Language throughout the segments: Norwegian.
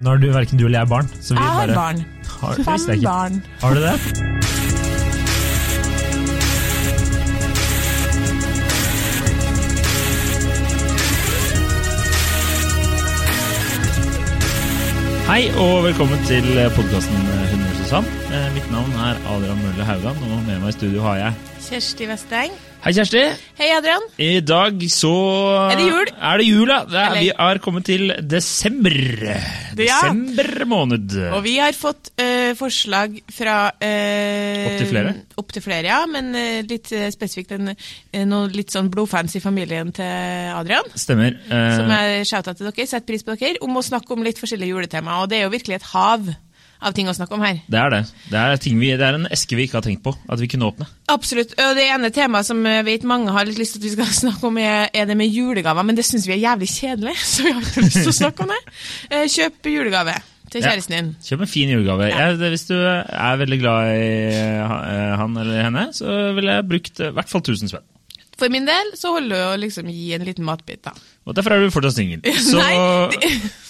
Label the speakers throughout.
Speaker 1: Nå har du verken du eller jeg barn. Så vi
Speaker 2: Jeg har
Speaker 1: Mm. bare,
Speaker 2: barn.
Speaker 1: Har, det visste jeg
Speaker 2: Fem
Speaker 1: ikke.
Speaker 2: barn.
Speaker 1: har du det? Hei og velkommen til podkasten Hunder Susann. Eh, Mitt navn er Adrian Mølle Haugan, og med meg i studio har jeg
Speaker 2: Kjersti Vesteng.
Speaker 1: Hei, Kjersti.
Speaker 2: Hei, Adrian.
Speaker 1: I dag så
Speaker 2: Er det jul?
Speaker 1: Er det jul, ja. Det er,
Speaker 2: Eller-
Speaker 1: vi er kommet til desember. Desember måned.
Speaker 2: Og vi har fått eh, forslag fra uh,
Speaker 1: Opp til flere?
Speaker 2: Opp til flere, ja. Men eh, litt eh, spesifikt en, eh, noe litt sånn blodfans i familien til Adrian.
Speaker 1: Stemmer. Eh,
Speaker 2: Som er shouta til dere, setter pris på dere, om å snakke om litt forskjellige juletema. Og det er jo virkelig et hav av ting å snakke om her.
Speaker 1: Det er det. Det er, ting vi, det er en eske vi ikke har tenkt på at vi kunne åpne.
Speaker 2: Absolutt. Og det ene temaet som jeg vet mange har litt lyst til at vi skal snakke om, er, er det med julegaver. Men det syns vi er jævlig kjedelig, så vi har ikke lyst til å snakke om det. Eh, Kjøp julegave til
Speaker 1: Ja.
Speaker 2: kjæresten din.
Speaker 1: Kjøp en fin julegave. Jeg, det, hvis du er veldig glad i eh, han eller henne, så ville jeg brukt eh, i hvert fall 1000 spenn.
Speaker 2: For min del så holder det å liksom gi en liten matbit, da.
Speaker 1: Og derfor er du fortsatt singel. Så
Speaker 2: Nei, det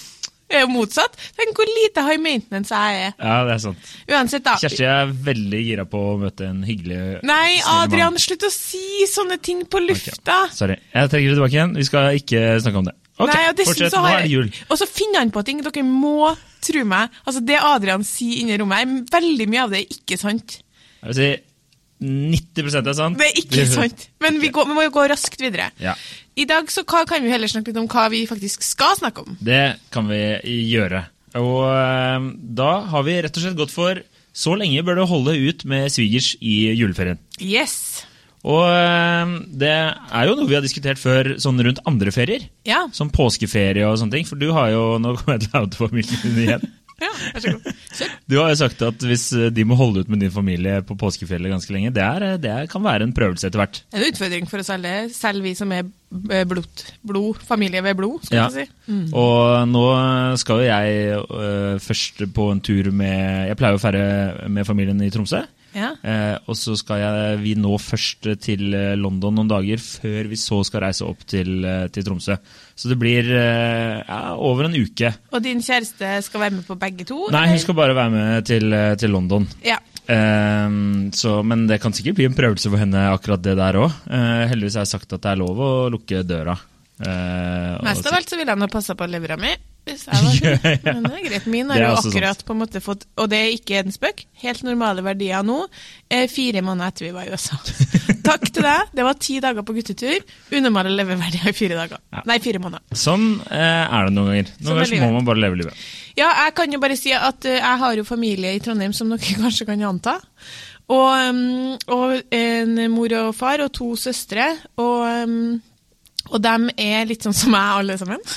Speaker 2: det er jo motsatt. Tenk hvor lite high maintenance jeg er.
Speaker 1: Ja, det er sant.
Speaker 2: Uansett, da.
Speaker 1: Kjersti er veldig gira på å møte en hyggelig
Speaker 2: Nei,
Speaker 1: snill mann.
Speaker 2: Adrian, slutt å si sånne ting på lufta.
Speaker 1: Sorry. Jeg trekker det tilbake igjen. Vi skal ikke snakke om det. Ok,
Speaker 2: Nei, og dessuten
Speaker 1: fortsett.
Speaker 2: så
Speaker 1: Nå er
Speaker 2: har
Speaker 1: det
Speaker 2: jeg-
Speaker 1: jul.
Speaker 2: Og så finner han på ting. Dere må tro meg. Altså, det Adrian sier inni rommet her, veldig mye av det er ikke sant.
Speaker 1: Jeg vil si 90 er sant.
Speaker 2: Det er ikke sant. Men vi, går, vi må jo gå raskt videre.
Speaker 1: Ja.
Speaker 2: I dag så hva, kan vi heller snakke litt om hva vi faktisk skal snakke om.
Speaker 1: Det kan vi gjøre. Og eh, da har vi rett og slett gått for så lenge bør du holde ut med svigers i juleferien.
Speaker 2: Yes.
Speaker 1: Og eh, det er jo noe vi har diskutert før sånn rundt andre ferier.
Speaker 2: Ja.
Speaker 1: Som påskeferie og sånne ting. For du har jo Nå kommer jeg til å oute familien din igjen.
Speaker 2: ja vær så god. Kjør.
Speaker 1: Du har jo sagt at hvis eh, de må holde ut med din familie på påskefjellet ganske lenge, det, er, eh, det kan være en prøvelse etter hvert.
Speaker 2: En utfordring for oss alle, selv vi som er b- blod, blod familie ved blod, skal
Speaker 1: Ja.
Speaker 2: vi si.
Speaker 1: Og nå skal jo jeg øh, først på en tur med Jeg pleier å ferde med familien i Tromsø.
Speaker 2: Ja.
Speaker 1: Eh, og så skal jeg, vi nå først til eh, London noen dager før vi så skal reise opp til, eh, til Tromsø. Så det blir eh, ja, over en uke.
Speaker 2: Og din kjæreste skal være med på begge to?
Speaker 1: Nei,
Speaker 2: eller?
Speaker 1: hun skal bare være med til, eh, til London.
Speaker 2: Ja.
Speaker 1: Eh, så, men det kan sikkert bli en prøvelse for henne, akkurat det der òg. Eh, heldigvis har jeg sagt at det er lov å lukke døra. Eh, og
Speaker 2: Mest
Speaker 1: så-
Speaker 2: av alt så ville han ha passa på levra mi. Hvis jeg var
Speaker 1: Ja,
Speaker 2: snill.
Speaker 1: ja.
Speaker 2: Men det er greit. Min
Speaker 1: Det
Speaker 2: har
Speaker 1: er
Speaker 2: jo
Speaker 1: også
Speaker 2: akkurat på en måte fått Og det er ikke en spøk. Helt normale verdier nå. eh, Fire måneder etter vi var i USA. Takk til deg. Det var ti dager på guttetur. Unormale leveverdier i fire dager. Nei, fire måneder.
Speaker 1: Sånn eh, er det noen ganger.
Speaker 2: Sånn
Speaker 1: Noen ganger
Speaker 2: er
Speaker 1: så må
Speaker 2: livet.
Speaker 1: man bare leve livet.
Speaker 2: Ja, jeg kan jo bare si at eh, jeg har jo familie i Trondheim, som dere kanskje kan anta. Og, um, og en mor og far og to søstre. Og, um, og dem er litt sånn som meg, alle sammen.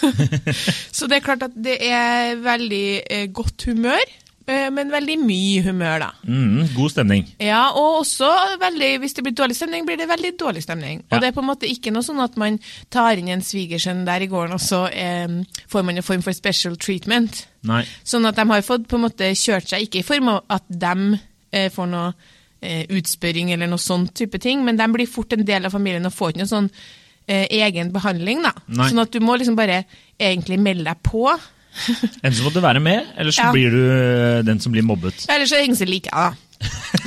Speaker 2: Så det er klart at det er veldig eh, godt humør, eh, men veldig mye humør, da.
Speaker 1: Mm, god stemning.
Speaker 2: Ja, og også veldig, hvis det blir dårlig stemning, blir det veldig dårlig stemning.
Speaker 1: Ja.
Speaker 2: Og det er på en måte ikke noe sånn at man tar inn en svigersønn der i gården, og så eh, får man en form for special treatment.
Speaker 1: Nei.
Speaker 2: Sånn at de har fått på en måte kjørt seg, ikke i form av at de eh, får noe eh, utspørring eller noe sånn type ting, men de blir fort en del av familien og får ikke noe sånn eh, egen behandling, da.
Speaker 1: Nei.
Speaker 2: Sånn at du må liksom bare egentlig melde deg på.
Speaker 1: Enten så må du være med, eller så
Speaker 2: Ja.
Speaker 1: blir du eh, den som blir mobbet.
Speaker 2: Eller så henger seg like, ja.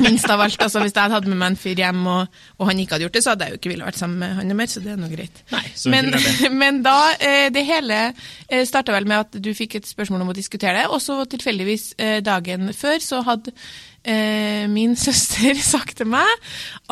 Speaker 2: Minst av alt. altså Hvis jeg hadde hatt med meg en fyr hjem, og, og han ikke hadde gjort det, så hadde jeg jo ikke villet vært sammen med han mer, så det er nå greit.
Speaker 1: Nei, så
Speaker 2: Men,
Speaker 1: enkelt er
Speaker 2: men da, eh, det hele eh, starta vel med at du fikk et spørsmål om å diskutere det, og så tilfeldigvis eh, dagen før så hadde eh, min søster sagt til meg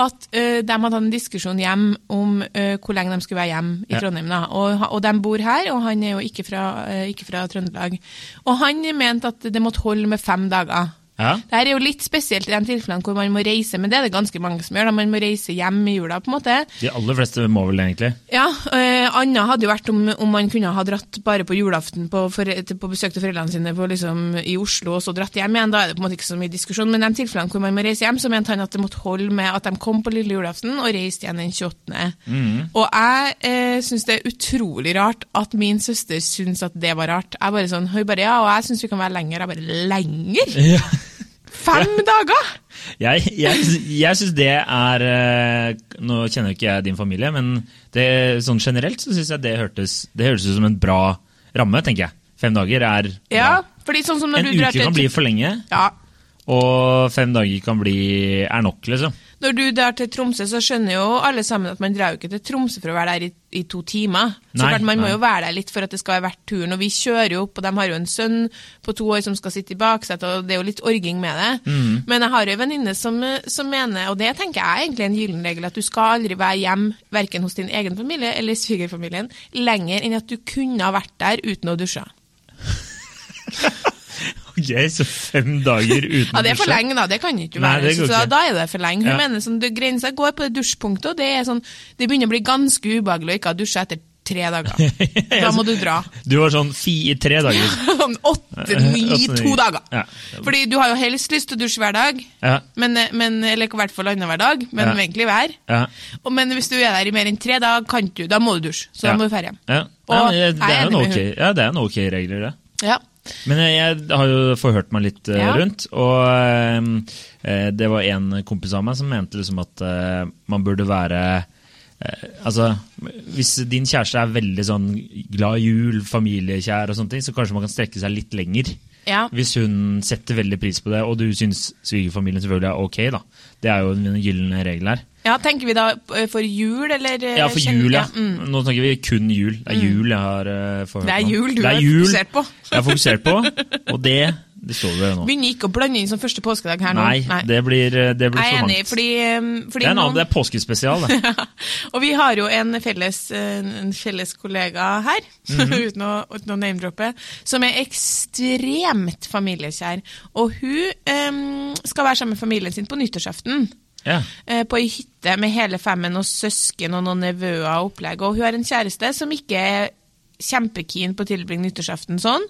Speaker 2: at eh, de hadde hatt en diskusjon hjem om eh, hvor lenge de skulle være hjemme i
Speaker 1: Ja.
Speaker 2: Trondheim. Da. Og, ha- og de bor her, og han er jo ikke fra, eh, ikke fra Trøndelag. Og han mente at det måtte holde med fem dager.
Speaker 1: Ja.
Speaker 2: Det her er jo litt spesielt i de tilfellene hvor man må reise, men det er det ganske mange som gjør. da. Man må reise hjem i jula, på en måte.
Speaker 1: De aller fleste må vel egentlig.
Speaker 2: Ja, eh, Anna hadde jo vært om, om man kunne ha dratt bare på julaften på, fore- til- på besøk til foreldrene sine på, liksom, i Oslo, og så dratt hjem igjen. Da er det på en måte ikke så mye diskusjon. Men i de tilfellene hvor man må reise hjem, så mente han at det måtte holde med at de kom på lille julaften og reiste igjen den 28. Og jeg eh, syns det er utrolig rart at min søster syns at det var rart. Jeg bare sånn, hun bare ja, og jeg syns vi kan være lenger. Jeg bare lenger? Fem dager?
Speaker 1: Jeg, jeg, jeg syns det er eh, Nå kjenner jo ikke jeg din familie, men det, sånn generelt så syns jeg det hørtes, det hørtes ut som en bra ramme, tenker jeg. Fem dager er
Speaker 2: Ja, Fordi sånn som når
Speaker 1: En
Speaker 2: du
Speaker 1: uke
Speaker 2: drar til
Speaker 1: kan bli for lenge,
Speaker 2: Ja.
Speaker 1: og fem dager kan bli er nok, liksom.
Speaker 2: Når du drar til Tromsø, så skjønner jo alle sammen at man drar jo ikke til Tromsø for å være der i, i to timer. Så
Speaker 1: Nei,
Speaker 2: klart, Man må
Speaker 1: nei.
Speaker 2: jo være der litt for at det skal være verdt turen. Og vi kjører jo opp, og de har jo en sønn på to år som skal sitte i baksetet, og det er jo litt orging med det.
Speaker 1: Mm.
Speaker 2: Men jeg har jo en venninne som, som mener, og det tenker jeg er egentlig en gyllen regel, at du skal aldri være hjem, verken hos din egen familie eller svigerfamilien, lenger enn at du kunne ha vært der uten å dusje.
Speaker 1: Ok, så fem dager uten
Speaker 2: Ja, det er for
Speaker 1: dusje.
Speaker 2: lenge, da. Det kan ikke
Speaker 1: Nei,
Speaker 2: være.
Speaker 1: det går
Speaker 2: så da,
Speaker 1: ikke.
Speaker 2: da er det for lenge. Hun
Speaker 1: Ja.
Speaker 2: mener sånn, det grensa går på det dusjpunktet, og det er sånn, det begynner å bli ganske ubehagelig å ikke ha dusja etter tre dager. Da må du dra.
Speaker 1: Du var sånn fi i tre dager.
Speaker 2: Sånn åtte, ni,
Speaker 1: Åtte, ni.
Speaker 2: to dager.
Speaker 1: Ja.
Speaker 2: Fordi du har jo helst lyst til å dusje hver dag,
Speaker 1: Ja.
Speaker 2: men, men, eller i hvert fall annenhver dag, men
Speaker 1: Ja.
Speaker 2: egentlig hver.
Speaker 1: Ja.
Speaker 2: Og, men hvis du er der i mer enn tre, da, kan du, da må du dusje. Så
Speaker 1: Ja.
Speaker 2: da må du dra hjem.
Speaker 1: Ja.
Speaker 2: Og
Speaker 1: Nei, men jeg- det
Speaker 2: jeg
Speaker 1: er
Speaker 2: er
Speaker 1: jo en
Speaker 2: enig med
Speaker 1: ok, ja, det er en ok regler, det.
Speaker 2: Ja.
Speaker 1: Men jeg, jeg har jo forhørt meg litt eh,
Speaker 2: Ja.
Speaker 1: rundt, og eh, det var en kompis av meg som mente liksom at eh, man burde være eh, Altså, hvis din kjæreste er veldig sånn glad i jul, familiekjær og sånne ting, så kanskje man kan strekke seg litt lenger.
Speaker 2: Ja.
Speaker 1: Hvis hun setter veldig pris på det, og du syns svigerfamilien selvfølgelig er ok, da. Det er jo en gyllen regel her.
Speaker 2: ja, tenker vi da eh, for jul, eller? eh,
Speaker 1: Ja, for
Speaker 2: kjenner-
Speaker 1: jul, ja.
Speaker 2: Mm.
Speaker 1: Nå snakker vi kun jul. Det er jul jeg har eh, forhørt
Speaker 2: Det
Speaker 1: meg
Speaker 2: er
Speaker 1: om.
Speaker 2: jul du
Speaker 1: Det
Speaker 2: er
Speaker 1: jul
Speaker 2: fokusert på.
Speaker 1: Jeg er fokusert på, og det, det står det nå.
Speaker 2: Begynner ikke å blande inn som første påskedag her nå.
Speaker 1: Nei, det blir, eh, det blir
Speaker 2: Jeg er
Speaker 1: for
Speaker 2: enig,
Speaker 1: mangt.
Speaker 2: fordi, um, fordi
Speaker 1: det er en annen,
Speaker 2: noen-
Speaker 1: det er påskespesial, det.
Speaker 2: og vi har jo en felles, en felles kollega her,
Speaker 1: Mhm.
Speaker 2: uten å, uten å name-droppe, som er ekstremt familiekjær. Og hun um, skal være sammen med familien sin på nyttårsaften.
Speaker 1: Ja.
Speaker 2: eh, På ei hytte med hele femmen og søsken og noen nevøer og opplegg. Og hun har en kjæreste som ikke er kjempekeen på å tilbringe nyttårsaften sånn,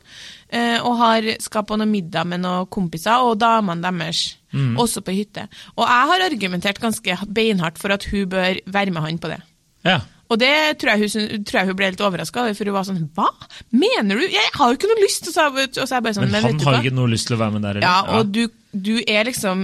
Speaker 2: eh, og har, skal på noe middag med noen kompiser og damene deres,
Speaker 1: Mm.
Speaker 2: også på ei hytte. Og jeg har argumentert ganske beinhardt for at hun bør være med han på det.
Speaker 1: ja.
Speaker 2: Og det tror jeg hun, syn- tror jeg hun ble litt overraska over, for hun var sånn Hva mener du? Jeg har jo ikke noe lyst! Og så, og så er jeg bare sånn,
Speaker 1: Men,
Speaker 2: men,
Speaker 1: han
Speaker 2: vet du
Speaker 1: har
Speaker 2: hva?
Speaker 1: jo ikke noe lyst til å være med der
Speaker 2: Ja,
Speaker 1: heller.
Speaker 2: og du, du er liksom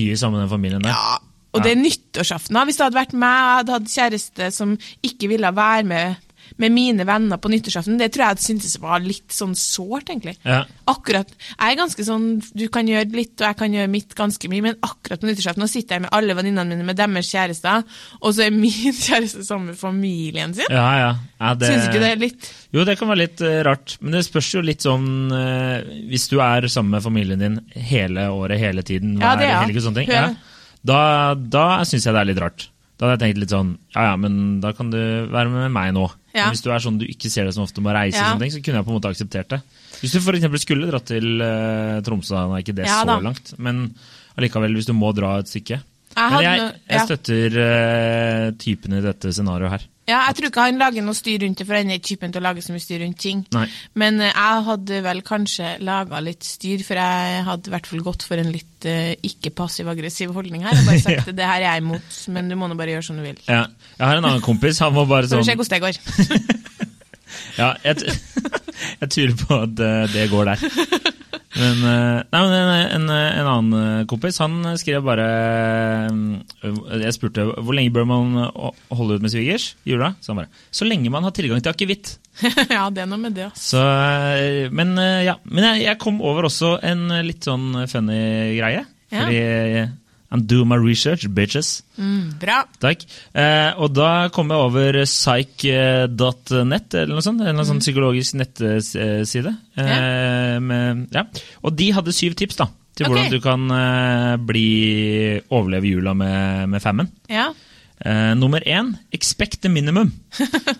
Speaker 1: Mye sammen med den familien der.
Speaker 2: ja, og det er nyttårsaften. da. Hvis det hadde vært meg, og jeg hadde hatt kjæreste som ikke ville være med med mine venner på nyttårsaften, det tror jeg hadde syntes var litt sånn sårt, egentlig.
Speaker 1: Ja.
Speaker 2: Akkurat, Jeg er ganske sånn Du kan gjøre litt, og jeg kan gjøre mitt ganske mye, men akkurat på nyttårsaften nå sitter jeg med alle venninnene mine med deres kjærester, og så er min kjæreste sammen med familien sin.
Speaker 1: Ja, ja. ja det...
Speaker 2: Syns ikke det er litt
Speaker 1: Jo, det kan være litt eh, rart, men det spørs jo litt sånn eh, Hvis du er sammen med familien din hele året, hele tiden,
Speaker 2: Ja,
Speaker 1: hver
Speaker 2: det, ja.
Speaker 1: helg og sånne ting,
Speaker 2: Ja.
Speaker 1: ja, da, da syns jeg det er litt rart. Da hadde jeg tenkt litt sånn Ja ja, men da kan du være med meg nå.
Speaker 2: Ja.
Speaker 1: Men hvis du er sånn du ikke ser deg som ofte må reise,
Speaker 2: Ja.
Speaker 1: og sånne ting, så kunne jeg på en måte akseptert det. Hvis du f.eks. skulle dratt til eh, Tromsø, da, nå er ikke det
Speaker 2: Ja,
Speaker 1: så
Speaker 2: da.
Speaker 1: langt, men allikevel, hvis du må dra et stykke.
Speaker 2: Jeg
Speaker 1: men
Speaker 2: hadde
Speaker 1: jeg,
Speaker 2: noe-
Speaker 1: jeg
Speaker 2: ja.
Speaker 1: støtter eh, typen i dette scenarioet her.
Speaker 2: Ja, jeg tror ikke han lager noe styr rundt det, for han er ikke typen til å lage så mye styr rundt ting.
Speaker 1: Nei.
Speaker 2: Men eh, jeg hadde vel kanskje laga litt styr, for jeg hadde i hvert fall gått for en litt eh, ikke passiv-aggressiv holdning her. Og bare sagt at det her er jeg imot, men du må nå bare gjøre som du vil.
Speaker 1: Ja. Jeg har en annen kompis, han var bare
Speaker 2: Så får
Speaker 1: sånn
Speaker 2: vi se hvordan det går.
Speaker 1: Ja, jeg, t- jeg tviler på at eh, det går der. Men, eh, nei, men en, en, en annen eh, kompis han skrev bare eh, Jeg spurte hvor lenge bør man ho- holde ut med svigers i jula. Så han bare så lenge man har tilgang til akevitt.
Speaker 2: ja, det er noe med det, altså.
Speaker 1: Så, eh, Men, eh, ja. men jeg, jeg kom over også en eh, litt sånn funny greie.
Speaker 2: Ja.
Speaker 1: Fordi eh, I'm doing my research, bitches.
Speaker 2: Mm, bra.
Speaker 1: Takk. Eh, og da kom jeg over psych.net, eller noe sånt. En eller annen sånn psykologisk nettside. Eh, med, ja. Og de hadde syv tips da, til
Speaker 2: Ok.
Speaker 1: hvordan du kan eh, bli, overleve jula med, med femmen.
Speaker 2: Ja.
Speaker 1: Eh, nummer én, expect the minimum.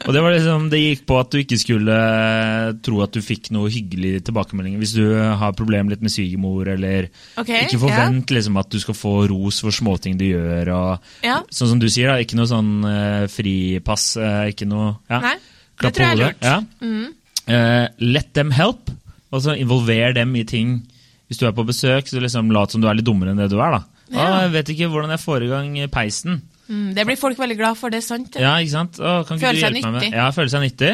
Speaker 1: Og det, var liksom, det gikk på at du ikke skulle eh, tro at du fikk noe hyggelig tilbakemelding hvis du har problemer litt med svigermor, eller
Speaker 2: Ok,
Speaker 1: ikke forvent liksom, at du skal få ros for småting du gjør. Og,
Speaker 2: Ja.
Speaker 1: Sånn som du sier, da, ikke noe sånn eh, fripass. eh, ikke noe ja.
Speaker 2: Nei, det
Speaker 1: Klapp
Speaker 2: tror
Speaker 1: på
Speaker 2: jeg er
Speaker 1: hodet.
Speaker 2: lurt.
Speaker 1: Ja.
Speaker 2: Mm,
Speaker 1: Eh, let them help. Altså involver dem i ting. Hvis du er på besøk, så liksom lat som du er litt dummere enn det du er. da.
Speaker 2: Ja.
Speaker 1: Å, jeg vet ikke hvordan jeg får i gang peisen.
Speaker 2: Mm, det blir folk veldig glad for, det er sant. det.
Speaker 1: Ja, ikke sant? Å, kan ikke du
Speaker 2: Føle seg
Speaker 1: hjelpe meg med det?
Speaker 2: nyttig.
Speaker 1: Ja, føle seg nyttig.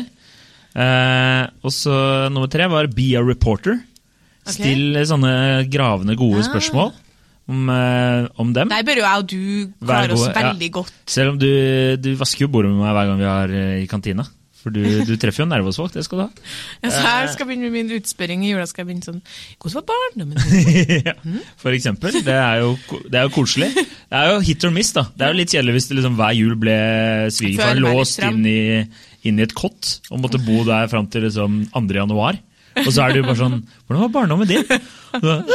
Speaker 1: Eh, og så nummer tre var be a reporter.
Speaker 2: Ok.
Speaker 1: Still sånne gravende gode
Speaker 2: Ah.
Speaker 1: spørsmål om, eh, om dem.
Speaker 2: Der bør jo jeg og du
Speaker 1: Vær
Speaker 2: klare oss
Speaker 1: gode, ja.
Speaker 2: veldig godt.
Speaker 1: Selv om du, du vasker jo bordet med meg hver gang vi er eh, i kantina. For For du, du treffer jo en nervesvakt, det skal du ha.
Speaker 2: Ja, så her skal jeg begynne med min utspørring i jula. skal jeg begynne sånn, Hvordan var barndommen din?
Speaker 1: ja. For eksempel. Det er, jo, ko- det er jo koselig. Det er jo hit or miss, da. Det er jo litt kjedelig hvis det liksom hver jul ble svigerfar
Speaker 2: Føler meg litt
Speaker 1: låst
Speaker 2: fram.
Speaker 1: inn i, inn i et kott og måtte bo der fram til liksom 2. januar. Og så er det jo bare sånn Hvordan var barndommen din? Og så,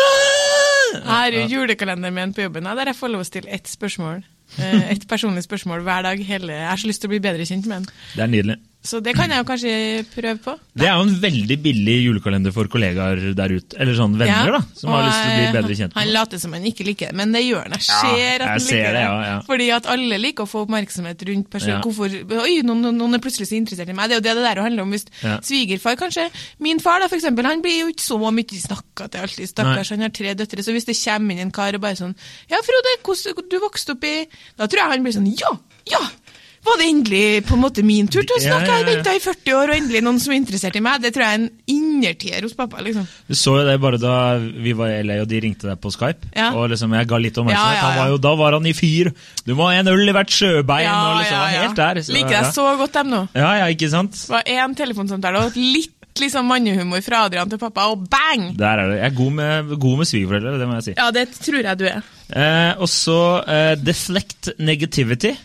Speaker 1: "Ah!"
Speaker 2: Her er julekalenderen min på jobben, ja, der jeg får lov å stille ett spørsmål. eh, Et personlig spørsmål hver dag. hele, Jeg har så lyst til å bli bedre kjent med den.
Speaker 1: Det er nydelig.
Speaker 2: Så det kan jeg jo kanskje prøve på.
Speaker 1: Det er jo en veldig billig julekalender for kollegaer der ute. Eller sånn venner,
Speaker 2: Ja,
Speaker 1: da. Som har
Speaker 2: og,
Speaker 1: lyst til å bli
Speaker 2: eh,
Speaker 1: bedre kjent
Speaker 2: Han
Speaker 1: med.
Speaker 2: later som han ikke liker det, men det gjør han. Jeg
Speaker 1: Ja,
Speaker 2: ser at
Speaker 1: jeg
Speaker 2: han
Speaker 1: ser
Speaker 2: liker
Speaker 1: det, ja, ja.
Speaker 2: Fordi at alle liker å få oppmerksomhet rundt personen.
Speaker 1: Ja.
Speaker 2: Hvorfor, oi, noen, noen er plutselig så interessert i meg. Det er jo det det der handler om. Hvis
Speaker 1: Ja.
Speaker 2: svigerfar, kanskje Min far da, for eksempel, han blir jo ikke så mye snakka til alltid. Stakkars, han har tre døtre. Så hvis det kommer inn en kar og bare sånn Ja, Frode, hvordan du vokste opp i Da tror jeg han blir sånn Ja! Ja! Var det endelig på en måte min tur til å
Speaker 1: Ja,
Speaker 2: snakke?
Speaker 1: ja,
Speaker 2: Jeg
Speaker 1: ja.
Speaker 2: venta i 40 år, og endelig noen som er interessert i meg. Det tror jeg er en innertier hos pappa. liksom.
Speaker 1: Du så jo det bare da vi var i LA og de ringte deg på Skype.
Speaker 2: Ja.
Speaker 1: Og liksom jeg ga litt oppmerksomhet.
Speaker 2: Ja, ja, ja.
Speaker 1: Han var jo, da var han i fyr. Du må ha en øl i hvert sjøbein. og liksom, han var helt der. så-
Speaker 2: Liker jeg så godt dem nå.
Speaker 1: Ja, ja, ikke sant?
Speaker 2: Det var én telefonsamtale og litt liksom mannehumor fra Adrian til pappa, og bang!
Speaker 1: Der er det. Jeg er god med, god med svigerforeldre, det må jeg si.
Speaker 2: Ja, det tror jeg du er.
Speaker 1: Eh, og så eh, deflect negativity.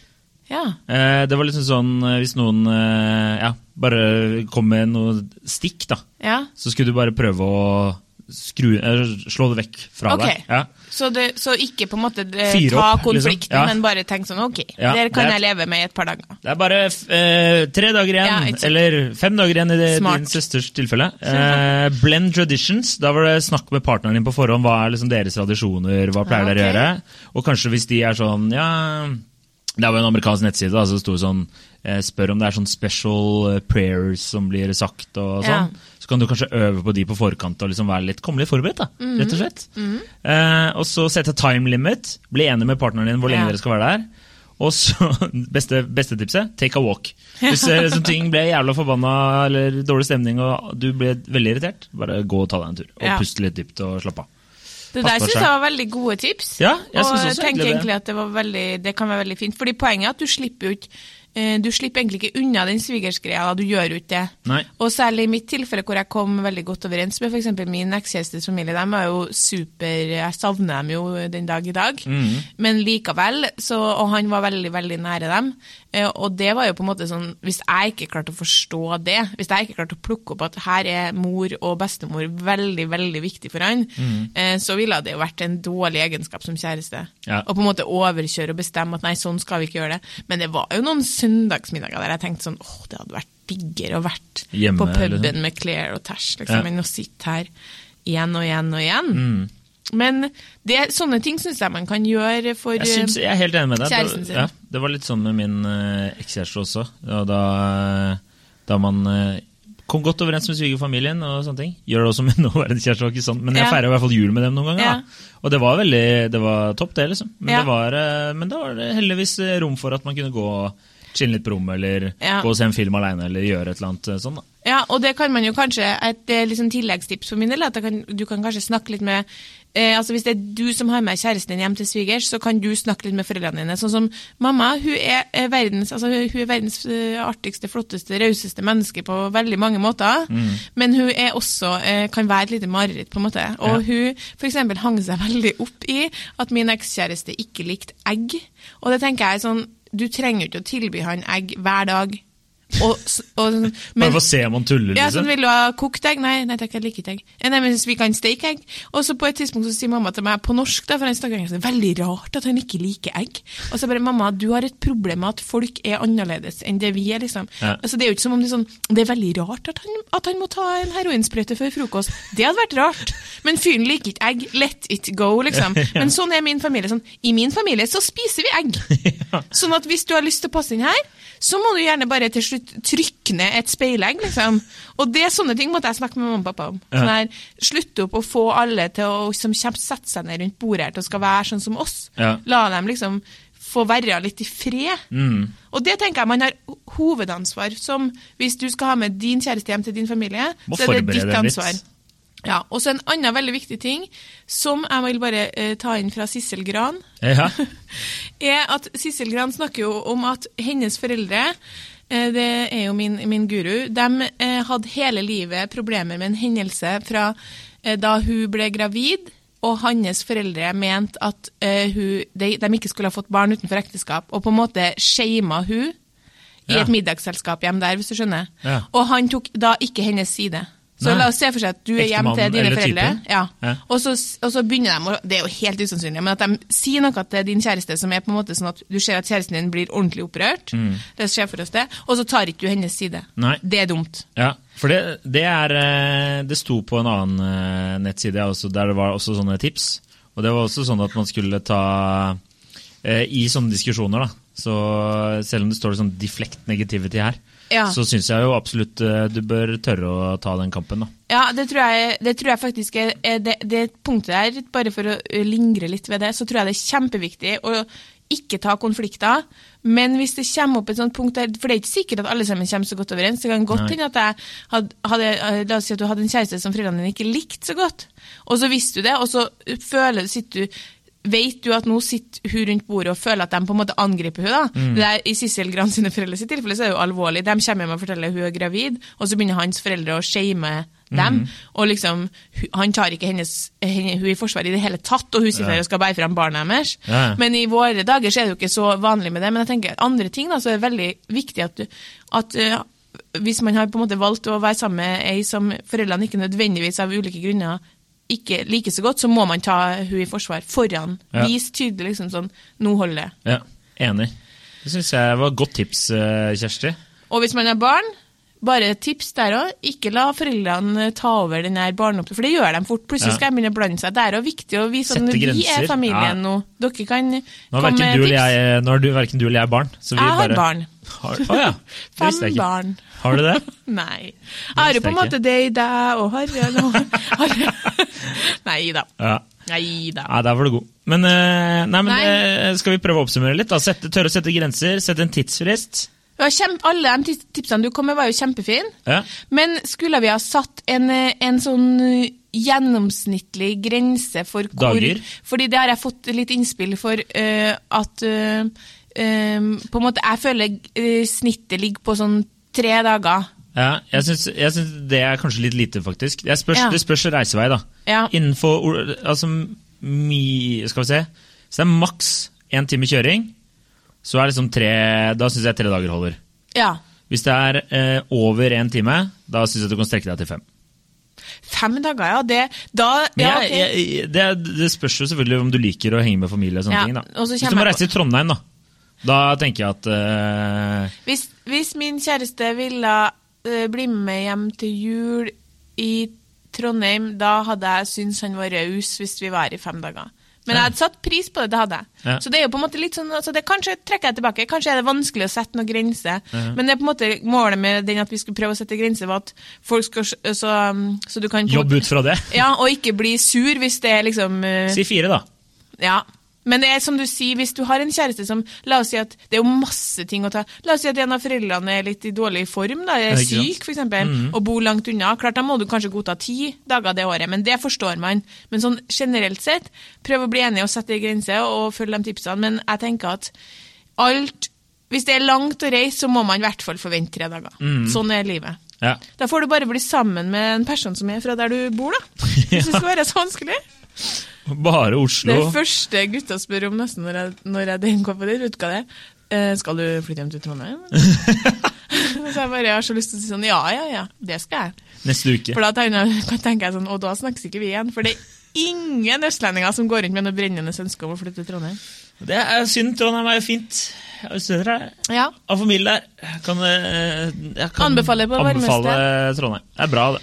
Speaker 2: Ja.
Speaker 1: Eh, det var liksom sånn eh, hvis noen eh, ja, bare kom med noe stikk, da.
Speaker 2: ja.
Speaker 1: Så skulle du bare prøve å skru, eh, slå det vekk fra
Speaker 2: Ok.
Speaker 1: deg. Ja.
Speaker 2: Så, det, så ikke på en måte eh,
Speaker 1: Fyre
Speaker 2: ta
Speaker 1: opp, liksom.
Speaker 2: konflikten,
Speaker 1: Ja.
Speaker 2: men bare tenk sånn ok,
Speaker 1: Ja,
Speaker 2: der kan
Speaker 1: det er-
Speaker 2: jeg leve med i et par dager.
Speaker 1: Det er bare f- eh, tre dager
Speaker 2: Ja,
Speaker 1: igjen,
Speaker 2: ikke sant.
Speaker 1: eller fem dager igjen i det,
Speaker 2: Smart.
Speaker 1: din søsters tilfelle. Eh, blend traditions. Da var det snakk med partneren din på forhånd. Hva er liksom deres tradisjoner? Hva pleier
Speaker 2: Ja,
Speaker 1: dere å
Speaker 2: Ah,
Speaker 1: gjøre?
Speaker 2: ok.
Speaker 1: Og kanskje hvis de er sånn ja, Det var jo en amerikansk nettside da, så det sto sånn eh, Spør om det er sånn special eh, prayers som blir sagt og
Speaker 2: Ja.
Speaker 1: sånn. Så kan du kanskje øve på de på forkant og liksom være litt, komme litt forberedt. da, rett
Speaker 2: Mhm.
Speaker 1: Og slett. Eh, og så sette time limit. Bli enig med partneren din hvor lenge
Speaker 2: Ja.
Speaker 1: dere skal være der. Og så, beste, beste tipset, take a walk. Hvis eh, liksom, ting ble jævla forbanna eller dårlig stemning og du ble veldig irritert, bare gå og ta deg en tur. Og
Speaker 2: Ja.
Speaker 1: puste litt dypt og slappe av.
Speaker 2: Det
Speaker 1: Pass
Speaker 2: der
Speaker 1: på
Speaker 2: syns
Speaker 1: seg.
Speaker 2: jeg var veldig gode tips.
Speaker 1: Ja, jeg
Speaker 2: og
Speaker 1: synes også
Speaker 2: jeg tenker
Speaker 1: egentlig det.
Speaker 2: egentlig at det, var veldig, det kan være veldig fint. Fordi poenget er at du slipper jo ikke eh, du slipper egentlig ikke unna den svigersgreia, du gjør jo ikke det.
Speaker 1: Nei.
Speaker 2: Og særlig i mitt tilfelle hvor jeg kom veldig godt overens med f.eks. min ekskjærestes familie. De er jo super Jeg savner dem jo den dag i dag. Men likevel. Så, og han var veldig, veldig nære dem. Eh, Og det var jo på en måte sånn Hvis jeg ikke klarte å forstå det, hvis jeg ikke klarte å plukke opp at her er mor og bestemor veldig, veldig viktig for han, eh, så ville det jo vært en dårlig egenskap som kjæreste.
Speaker 1: Ja.
Speaker 2: Og på en måte overkjøre og bestemme at nei, sånn skal vi ikke gjøre det. Men det var jo noen søndagsmiddager der jeg tenkte sånn, åh, det hadde vært diggere å vært
Speaker 1: Hjemme,
Speaker 2: på puben
Speaker 1: liksom.
Speaker 2: med Claire og Tash,
Speaker 1: Ja.
Speaker 2: liksom, enn å sitte her igjen og igjen og igjen. Men det, sånne ting syns jeg man kan gjøre for
Speaker 1: Mm. Jeg, syns, jeg er helt enig med deg.
Speaker 2: Kjæresten
Speaker 1: Det-
Speaker 2: sin.
Speaker 1: Ja, det var litt sånn med min eh, ekskjæreste også. Og da, da man eh, kom godt overens med svigerfamilien og sånne ting. Gjør det også med nåværende kjæreste, det var ikke sånn, men jeg
Speaker 2: Ja.
Speaker 1: feirer i hvert fall jul med dem noen ganger.
Speaker 2: Ja.
Speaker 1: Da. Og det var veldig, det var topp det, liksom. Men,
Speaker 2: Ja.
Speaker 1: det var, eh, men da var det heldigvis eh, rom for at man kunne gå og chille litt på rommet, eller
Speaker 2: Ja.
Speaker 1: gå og se en film aleine, eller gjøre et eller annet eh, sånn. da.
Speaker 2: Ja, og det kan man jo kanskje, et eh, liksom, tilleggstips for min del, er at jeg kan, du kan kanskje snakke litt med eh, altså Hvis det er du som har med kjæresten din hjem til svigers, så kan du snakke litt med foreldrene dine. Sånn som mamma, hun er eh, verdens, altså, hun hun er verdens eh, artigste, flotteste, rauseste menneske på veldig mange måter.
Speaker 1: Mm.
Speaker 2: Men hun er også, eh, kan være et lite mareritt, på en måte. Og hun for eksempel hang seg veldig opp i at min ekskjæreste ikke likte egg. Og det tenker jeg er sånn, du trenger jo ikke å tilby han egg hver dag. Og, s- og, sånn,
Speaker 1: Bare for å se om man tuller,
Speaker 2: ja,
Speaker 1: liksom.
Speaker 2: sånn vil du ha kokt egg? Nei, nei takk, jeg liker ikke egg. Eh, Nei, men hvis vi kan steke egg. Og så på et tidspunkt så sier mamma til meg på norsk, da, for han snakker engelsk, det er veldig rart at han ikke liker egg. Og så bare, mamma, du har et problem med at folk er annerledes enn det vi er, liksom.
Speaker 1: Ja.
Speaker 2: Altså, det er jo ikke som om det er sånn, det er veldig rart at han, at han må ta en heroinsprøyte før frokost. Det hadde vært rart. Men fyren liker ikke egg, let it go, liksom. Men sånn er min familie. Sånn, I min familie så spiser vi egg. Sånn at hvis du har lyst til å passe inn her, så må du gjerne bare til slutt trykke ned et speilegg, liksom. Og det er sånne ting måtte jeg snakke med mamma og pappa om. Sånn her, slutt opp å få alle til å som kommer, sette seg ned rundt bordet her til å skal være sånn som oss.
Speaker 1: Ja.
Speaker 2: La dem liksom få være litt i fred.
Speaker 1: Mm.
Speaker 2: Og det tenker jeg man har ho- hovedansvar som hvis du skal ha med din kjæreste hjem til din familie,
Speaker 1: Må
Speaker 2: så er det
Speaker 1: forberede
Speaker 2: ditt
Speaker 1: dem litt.
Speaker 2: ansvar. Ja, og så en annen veldig viktig ting, som jeg vil bare eh, ta inn fra Sissel Gran,
Speaker 1: Ja.
Speaker 2: er at Sissel Gran snakker jo om at hennes foreldre eh, det er jo min, min guru, de eh, hadde hele livet problemer med en hendelse fra eh, da hun ble gravid, og hans foreldre mente at eh, hun, de, de ikke skulle ha fått barn utenfor ekteskap, og på en måte shama hun i
Speaker 1: Ja.
Speaker 2: et middagsselskap hjemme der, hvis du skjønner.
Speaker 1: Ja.
Speaker 2: Og han tok da ikke hennes side. Så
Speaker 1: Nei.
Speaker 2: la oss se for seg at du er hjemme
Speaker 1: Ektemannen
Speaker 2: til dine
Speaker 1: eller
Speaker 2: foreldre.
Speaker 1: typen?
Speaker 2: Ja.
Speaker 1: Ja.
Speaker 2: Og, så, og så begynner de, å- det er jo helt usannsynlig, men at de sier noe til din kjæreste som er på en måte sånn at du ser at kjæresten din blir ordentlig opprørt, det skjer for oss det, og så tar ikke du hennes side.
Speaker 1: Mm. Nei.
Speaker 2: Det er dumt.
Speaker 1: Ja, for det, det er eh, Det sto på en annen eh, nettside ja, også, der det var også sånne tips. Og det var også sånn at man skulle ta eh, I sånne diskusjoner, da. Så selv om det står liksom 'deflect negativity' her,
Speaker 2: Ja.
Speaker 1: så syns jeg jo absolutt eh, du bør tørre å ta den kampen, da.
Speaker 2: Ja, det tror jeg, det tror jeg faktisk er, er det, det punktet der, bare for å ø, lingre litt ved det, så tror jeg det er kjempeviktig å ikke ta konflikter. Men hvis det kommer opp et sånt punkt der, for det er ikke sikkert at alle sammen kommer så godt overens, det kan godt
Speaker 1: Nei.
Speaker 2: hende at jeg hadde, hadde, ø, la oss si at du hadde en kjæreste som foreldrene dine ikke likte så godt, og så visste du det, og så føler sitter du, Vet du at nå sitter hun rundt bordet og føler at de på en måte angriper hun da?
Speaker 1: Mm.
Speaker 2: Det er, I Sissel Gran sine foreldre sitt tilfelle så er det jo alvorlig. De kommer hjem og forteller hun er gravid, og så begynner hans foreldre å shame dem.
Speaker 1: Mm.
Speaker 2: Og liksom, hu- han tar ikke hennes, henne, hun i forsvar i det hele tatt, og hun sitter der og skal bære fram barna deres.
Speaker 1: Ja, ja.
Speaker 2: Men i våre dager så er det jo ikke så vanlig med det. Men jeg tenker andre ting da, så er det veldig viktig at, du, at eh, hvis man har på en måte valgt å være sammen med ei som foreldrene ikke nødvendigvis av ulike grunner ikke liker så godt, så må man ta hun i forsvar foran.
Speaker 1: Ja.
Speaker 2: Vis tydelig liksom sånn, nå holder det.
Speaker 1: Ja, Enig. Det syns jeg var et godt tips, eh, Kjersti.
Speaker 2: Og hvis man har barn, bare et tips der òg. Ikke la foreldrene ta over den her barneoppdragelsen, for det gjør de fort. Plutselig
Speaker 1: Ja.
Speaker 2: skal de begynne å blande seg. Det er òg viktig å vise at
Speaker 1: Sette
Speaker 2: vi
Speaker 1: grenser.
Speaker 2: er
Speaker 1: Ja.
Speaker 2: familien nå. Dere kan
Speaker 1: Nå
Speaker 2: komme
Speaker 1: har verken
Speaker 2: med
Speaker 1: du
Speaker 2: tips.
Speaker 1: eller jeg, eh, nå har du, hverken du eller jeg barn. Så vi
Speaker 2: Jeg har
Speaker 1: bare,
Speaker 2: barn.
Speaker 1: Har, å ja. det
Speaker 2: Fem
Speaker 1: visste jeg ikke.
Speaker 2: barn.
Speaker 1: Har du det?
Speaker 2: Nei. Jeg har jo på en
Speaker 1: visste
Speaker 2: måte det i deg og Harald og Harald. Nei da.
Speaker 1: Ja.
Speaker 2: Nei da.
Speaker 1: Nei, der var du god. Men, eh, nei, men
Speaker 2: Nei.
Speaker 1: eh, skal vi prøve å oppsummere litt? da? Sette, tørre å sette grenser, sette en tidsfrist.
Speaker 2: Det var kjempe- Alle de tips- tipsene du kom med, var jo kjempefine.
Speaker 1: Ja.
Speaker 2: Men skulle vi ha satt en, eh, en sånn eh, gjennomsnittlig grense for hvor
Speaker 1: Dager?
Speaker 2: Fordi det har jeg fått litt innspill for eh, at eh, eh, På en måte, jeg føler eh, snittet ligger på sånn tre dager.
Speaker 1: Ja, jeg syns, jeg syns det er kanskje litt lite, faktisk. Jeg spørs,
Speaker 2: Ja.
Speaker 1: Det spørs reisevei, da.
Speaker 2: Ja.
Speaker 1: Innenfor or- altså, mi, Skal vi se. Så det er maks én time kjøring. Så er det liksom tre Da syns jeg tre dager holder.
Speaker 2: Ja.
Speaker 1: Hvis det er eh, over én time, da syns jeg du kan strekke deg til fem.
Speaker 2: Fem dager, ja. Det, da,
Speaker 1: Men
Speaker 2: ja,
Speaker 1: jeg,
Speaker 2: ok.
Speaker 1: jeg, jeg, det, det spørs jo selvfølgelig om du liker å henge med familie. og sånne
Speaker 2: Ja,
Speaker 1: ting da.
Speaker 2: og så
Speaker 1: Hvis du
Speaker 2: kommer
Speaker 1: må
Speaker 2: jeg
Speaker 1: reise til Trondheim, da da tenker jeg at eh,
Speaker 2: Hvis, hvis min kjæreste ville eh, bli med hjem til jul i Trondheim, da hadde jeg syntes han var raus hvis vi var her i fem dager. Men jeg hadde satt pris på det, det hadde jeg.
Speaker 1: Ja.
Speaker 2: Så det er jo på en måte litt sånn, altså det kanskje trekker jeg tilbake, kanskje er det vanskelig å sette noen grense, men det er på en måte målet med den at vi skulle prøve å sette grenser, var at folk skal, s- så, um, så du kan på en
Speaker 1: jobb
Speaker 2: måte-
Speaker 1: ut fra det.
Speaker 2: Ja, og ikke bli sur hvis det er liksom... eh,
Speaker 1: Si fire, da.
Speaker 2: ja. Men det er som du sier, hvis du har en kjæreste som La oss si at det er jo masse ting å ta La oss si at en av foreldrene er litt i dårlig form, da, er
Speaker 1: Ja, ikke sant? Mhm.
Speaker 2: syk f.eks., eksempel, og bor langt unna. Klart, Da må du kanskje godta ti dager det året, men det forstår man. Men sånn generelt sett, prøv å bli enig og sette en grense og følge de tipsene. Men jeg tenker at alt Hvis det er langt å reise, så må man i hvert fall forvente tre dager.
Speaker 1: Mhm.
Speaker 2: Sånn er livet.
Speaker 1: Ja.
Speaker 2: Da får du bare bli sammen med en person som er fra der du bor, da. Hvis det skal være så vanskelig.
Speaker 1: Bare Oslo.
Speaker 2: Det første gutta spør om nesten når jeg, når jeg den går på den rutka det, eh, skal du flytte hjem til Trondheim? så jeg bare jeg har så lyst til å si sånn, ja, ja, ja, det skal jeg.
Speaker 1: Neste uke.
Speaker 2: For da tegner jeg- tenker jeg sånn, og da snakkes ikke vi igjen, for det er ingen østlendinger som går rundt med noe brennende ønske om å flytte til Trondheim.
Speaker 1: Det er synd. Trondheim er jo fint. Jeg støtter deg.
Speaker 2: Ja,
Speaker 1: Av familie der. Jeg Kan, eh, jeg kan
Speaker 2: Anbefaler på varmeste.
Speaker 1: anbefale Trondheim. Det er bra, det.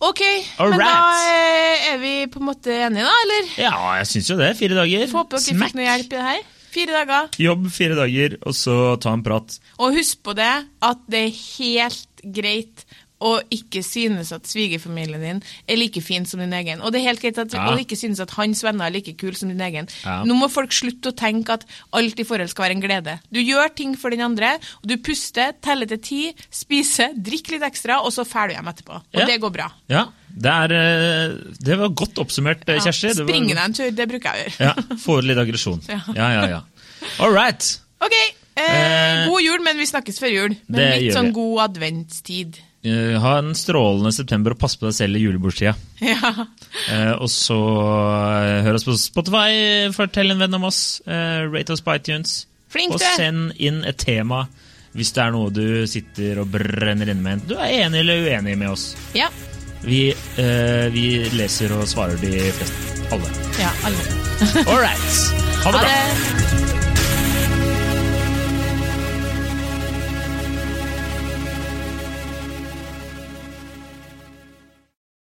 Speaker 2: ok,
Speaker 1: All
Speaker 2: men da
Speaker 1: right.
Speaker 2: eh, er vi på en måte enige da, eller?
Speaker 1: Ja, jeg syns jo det. Fire dager.
Speaker 2: Får håpe dere fikk noe hjelp i det her. Fire dager.
Speaker 1: Jobb fire dager, og så ta en prat.
Speaker 2: Og husk på det at det er helt greit å ikke synes at svigerfamilien din er like fin som din egen. Og det er helt greit at
Speaker 1: Ja.
Speaker 2: å ikke synes at hans venner er like kul som din egen.
Speaker 1: Ja.
Speaker 2: Nå må folk slutte å tenke at alt i forhold skal være en glede. Du gjør ting for den andre, og du puster, teller til ti, spiser, drikker litt ekstra, og så drar du hjem etterpå. Og
Speaker 1: Ja.
Speaker 2: det går bra.
Speaker 1: Ja, det, er, eh, det var godt oppsummert, eh, Kjersti. Det var-
Speaker 2: Springe deg en tur, det bruker jeg å gjøre.
Speaker 1: Ja, Få ut litt aggresjon. Ja, ja, ja. All right.
Speaker 2: OK! Eh,
Speaker 1: Eh,
Speaker 2: god jul, men vi snakkes før jul. Men
Speaker 1: det
Speaker 2: litt
Speaker 1: gjør
Speaker 2: sånn
Speaker 1: vi.
Speaker 2: god adventstid.
Speaker 1: Eh, Ha en strålende september og pass på deg selv i julebordstida.
Speaker 2: Ja.
Speaker 1: Eh, og så eh, hør oss på Spotify, fortell en venn om oss, eh, rate oss på iTunes.
Speaker 2: Flink
Speaker 1: Og
Speaker 2: du er.
Speaker 1: send inn et tema hvis det er noe du sitter og brenner inne med. Du er enig eller uenig med oss.
Speaker 2: Ja.
Speaker 1: Vi, eh, vi leser og svarer de fleste. Alle.
Speaker 2: ja alle.
Speaker 1: All right. Ha det bra.
Speaker 2: Ha det.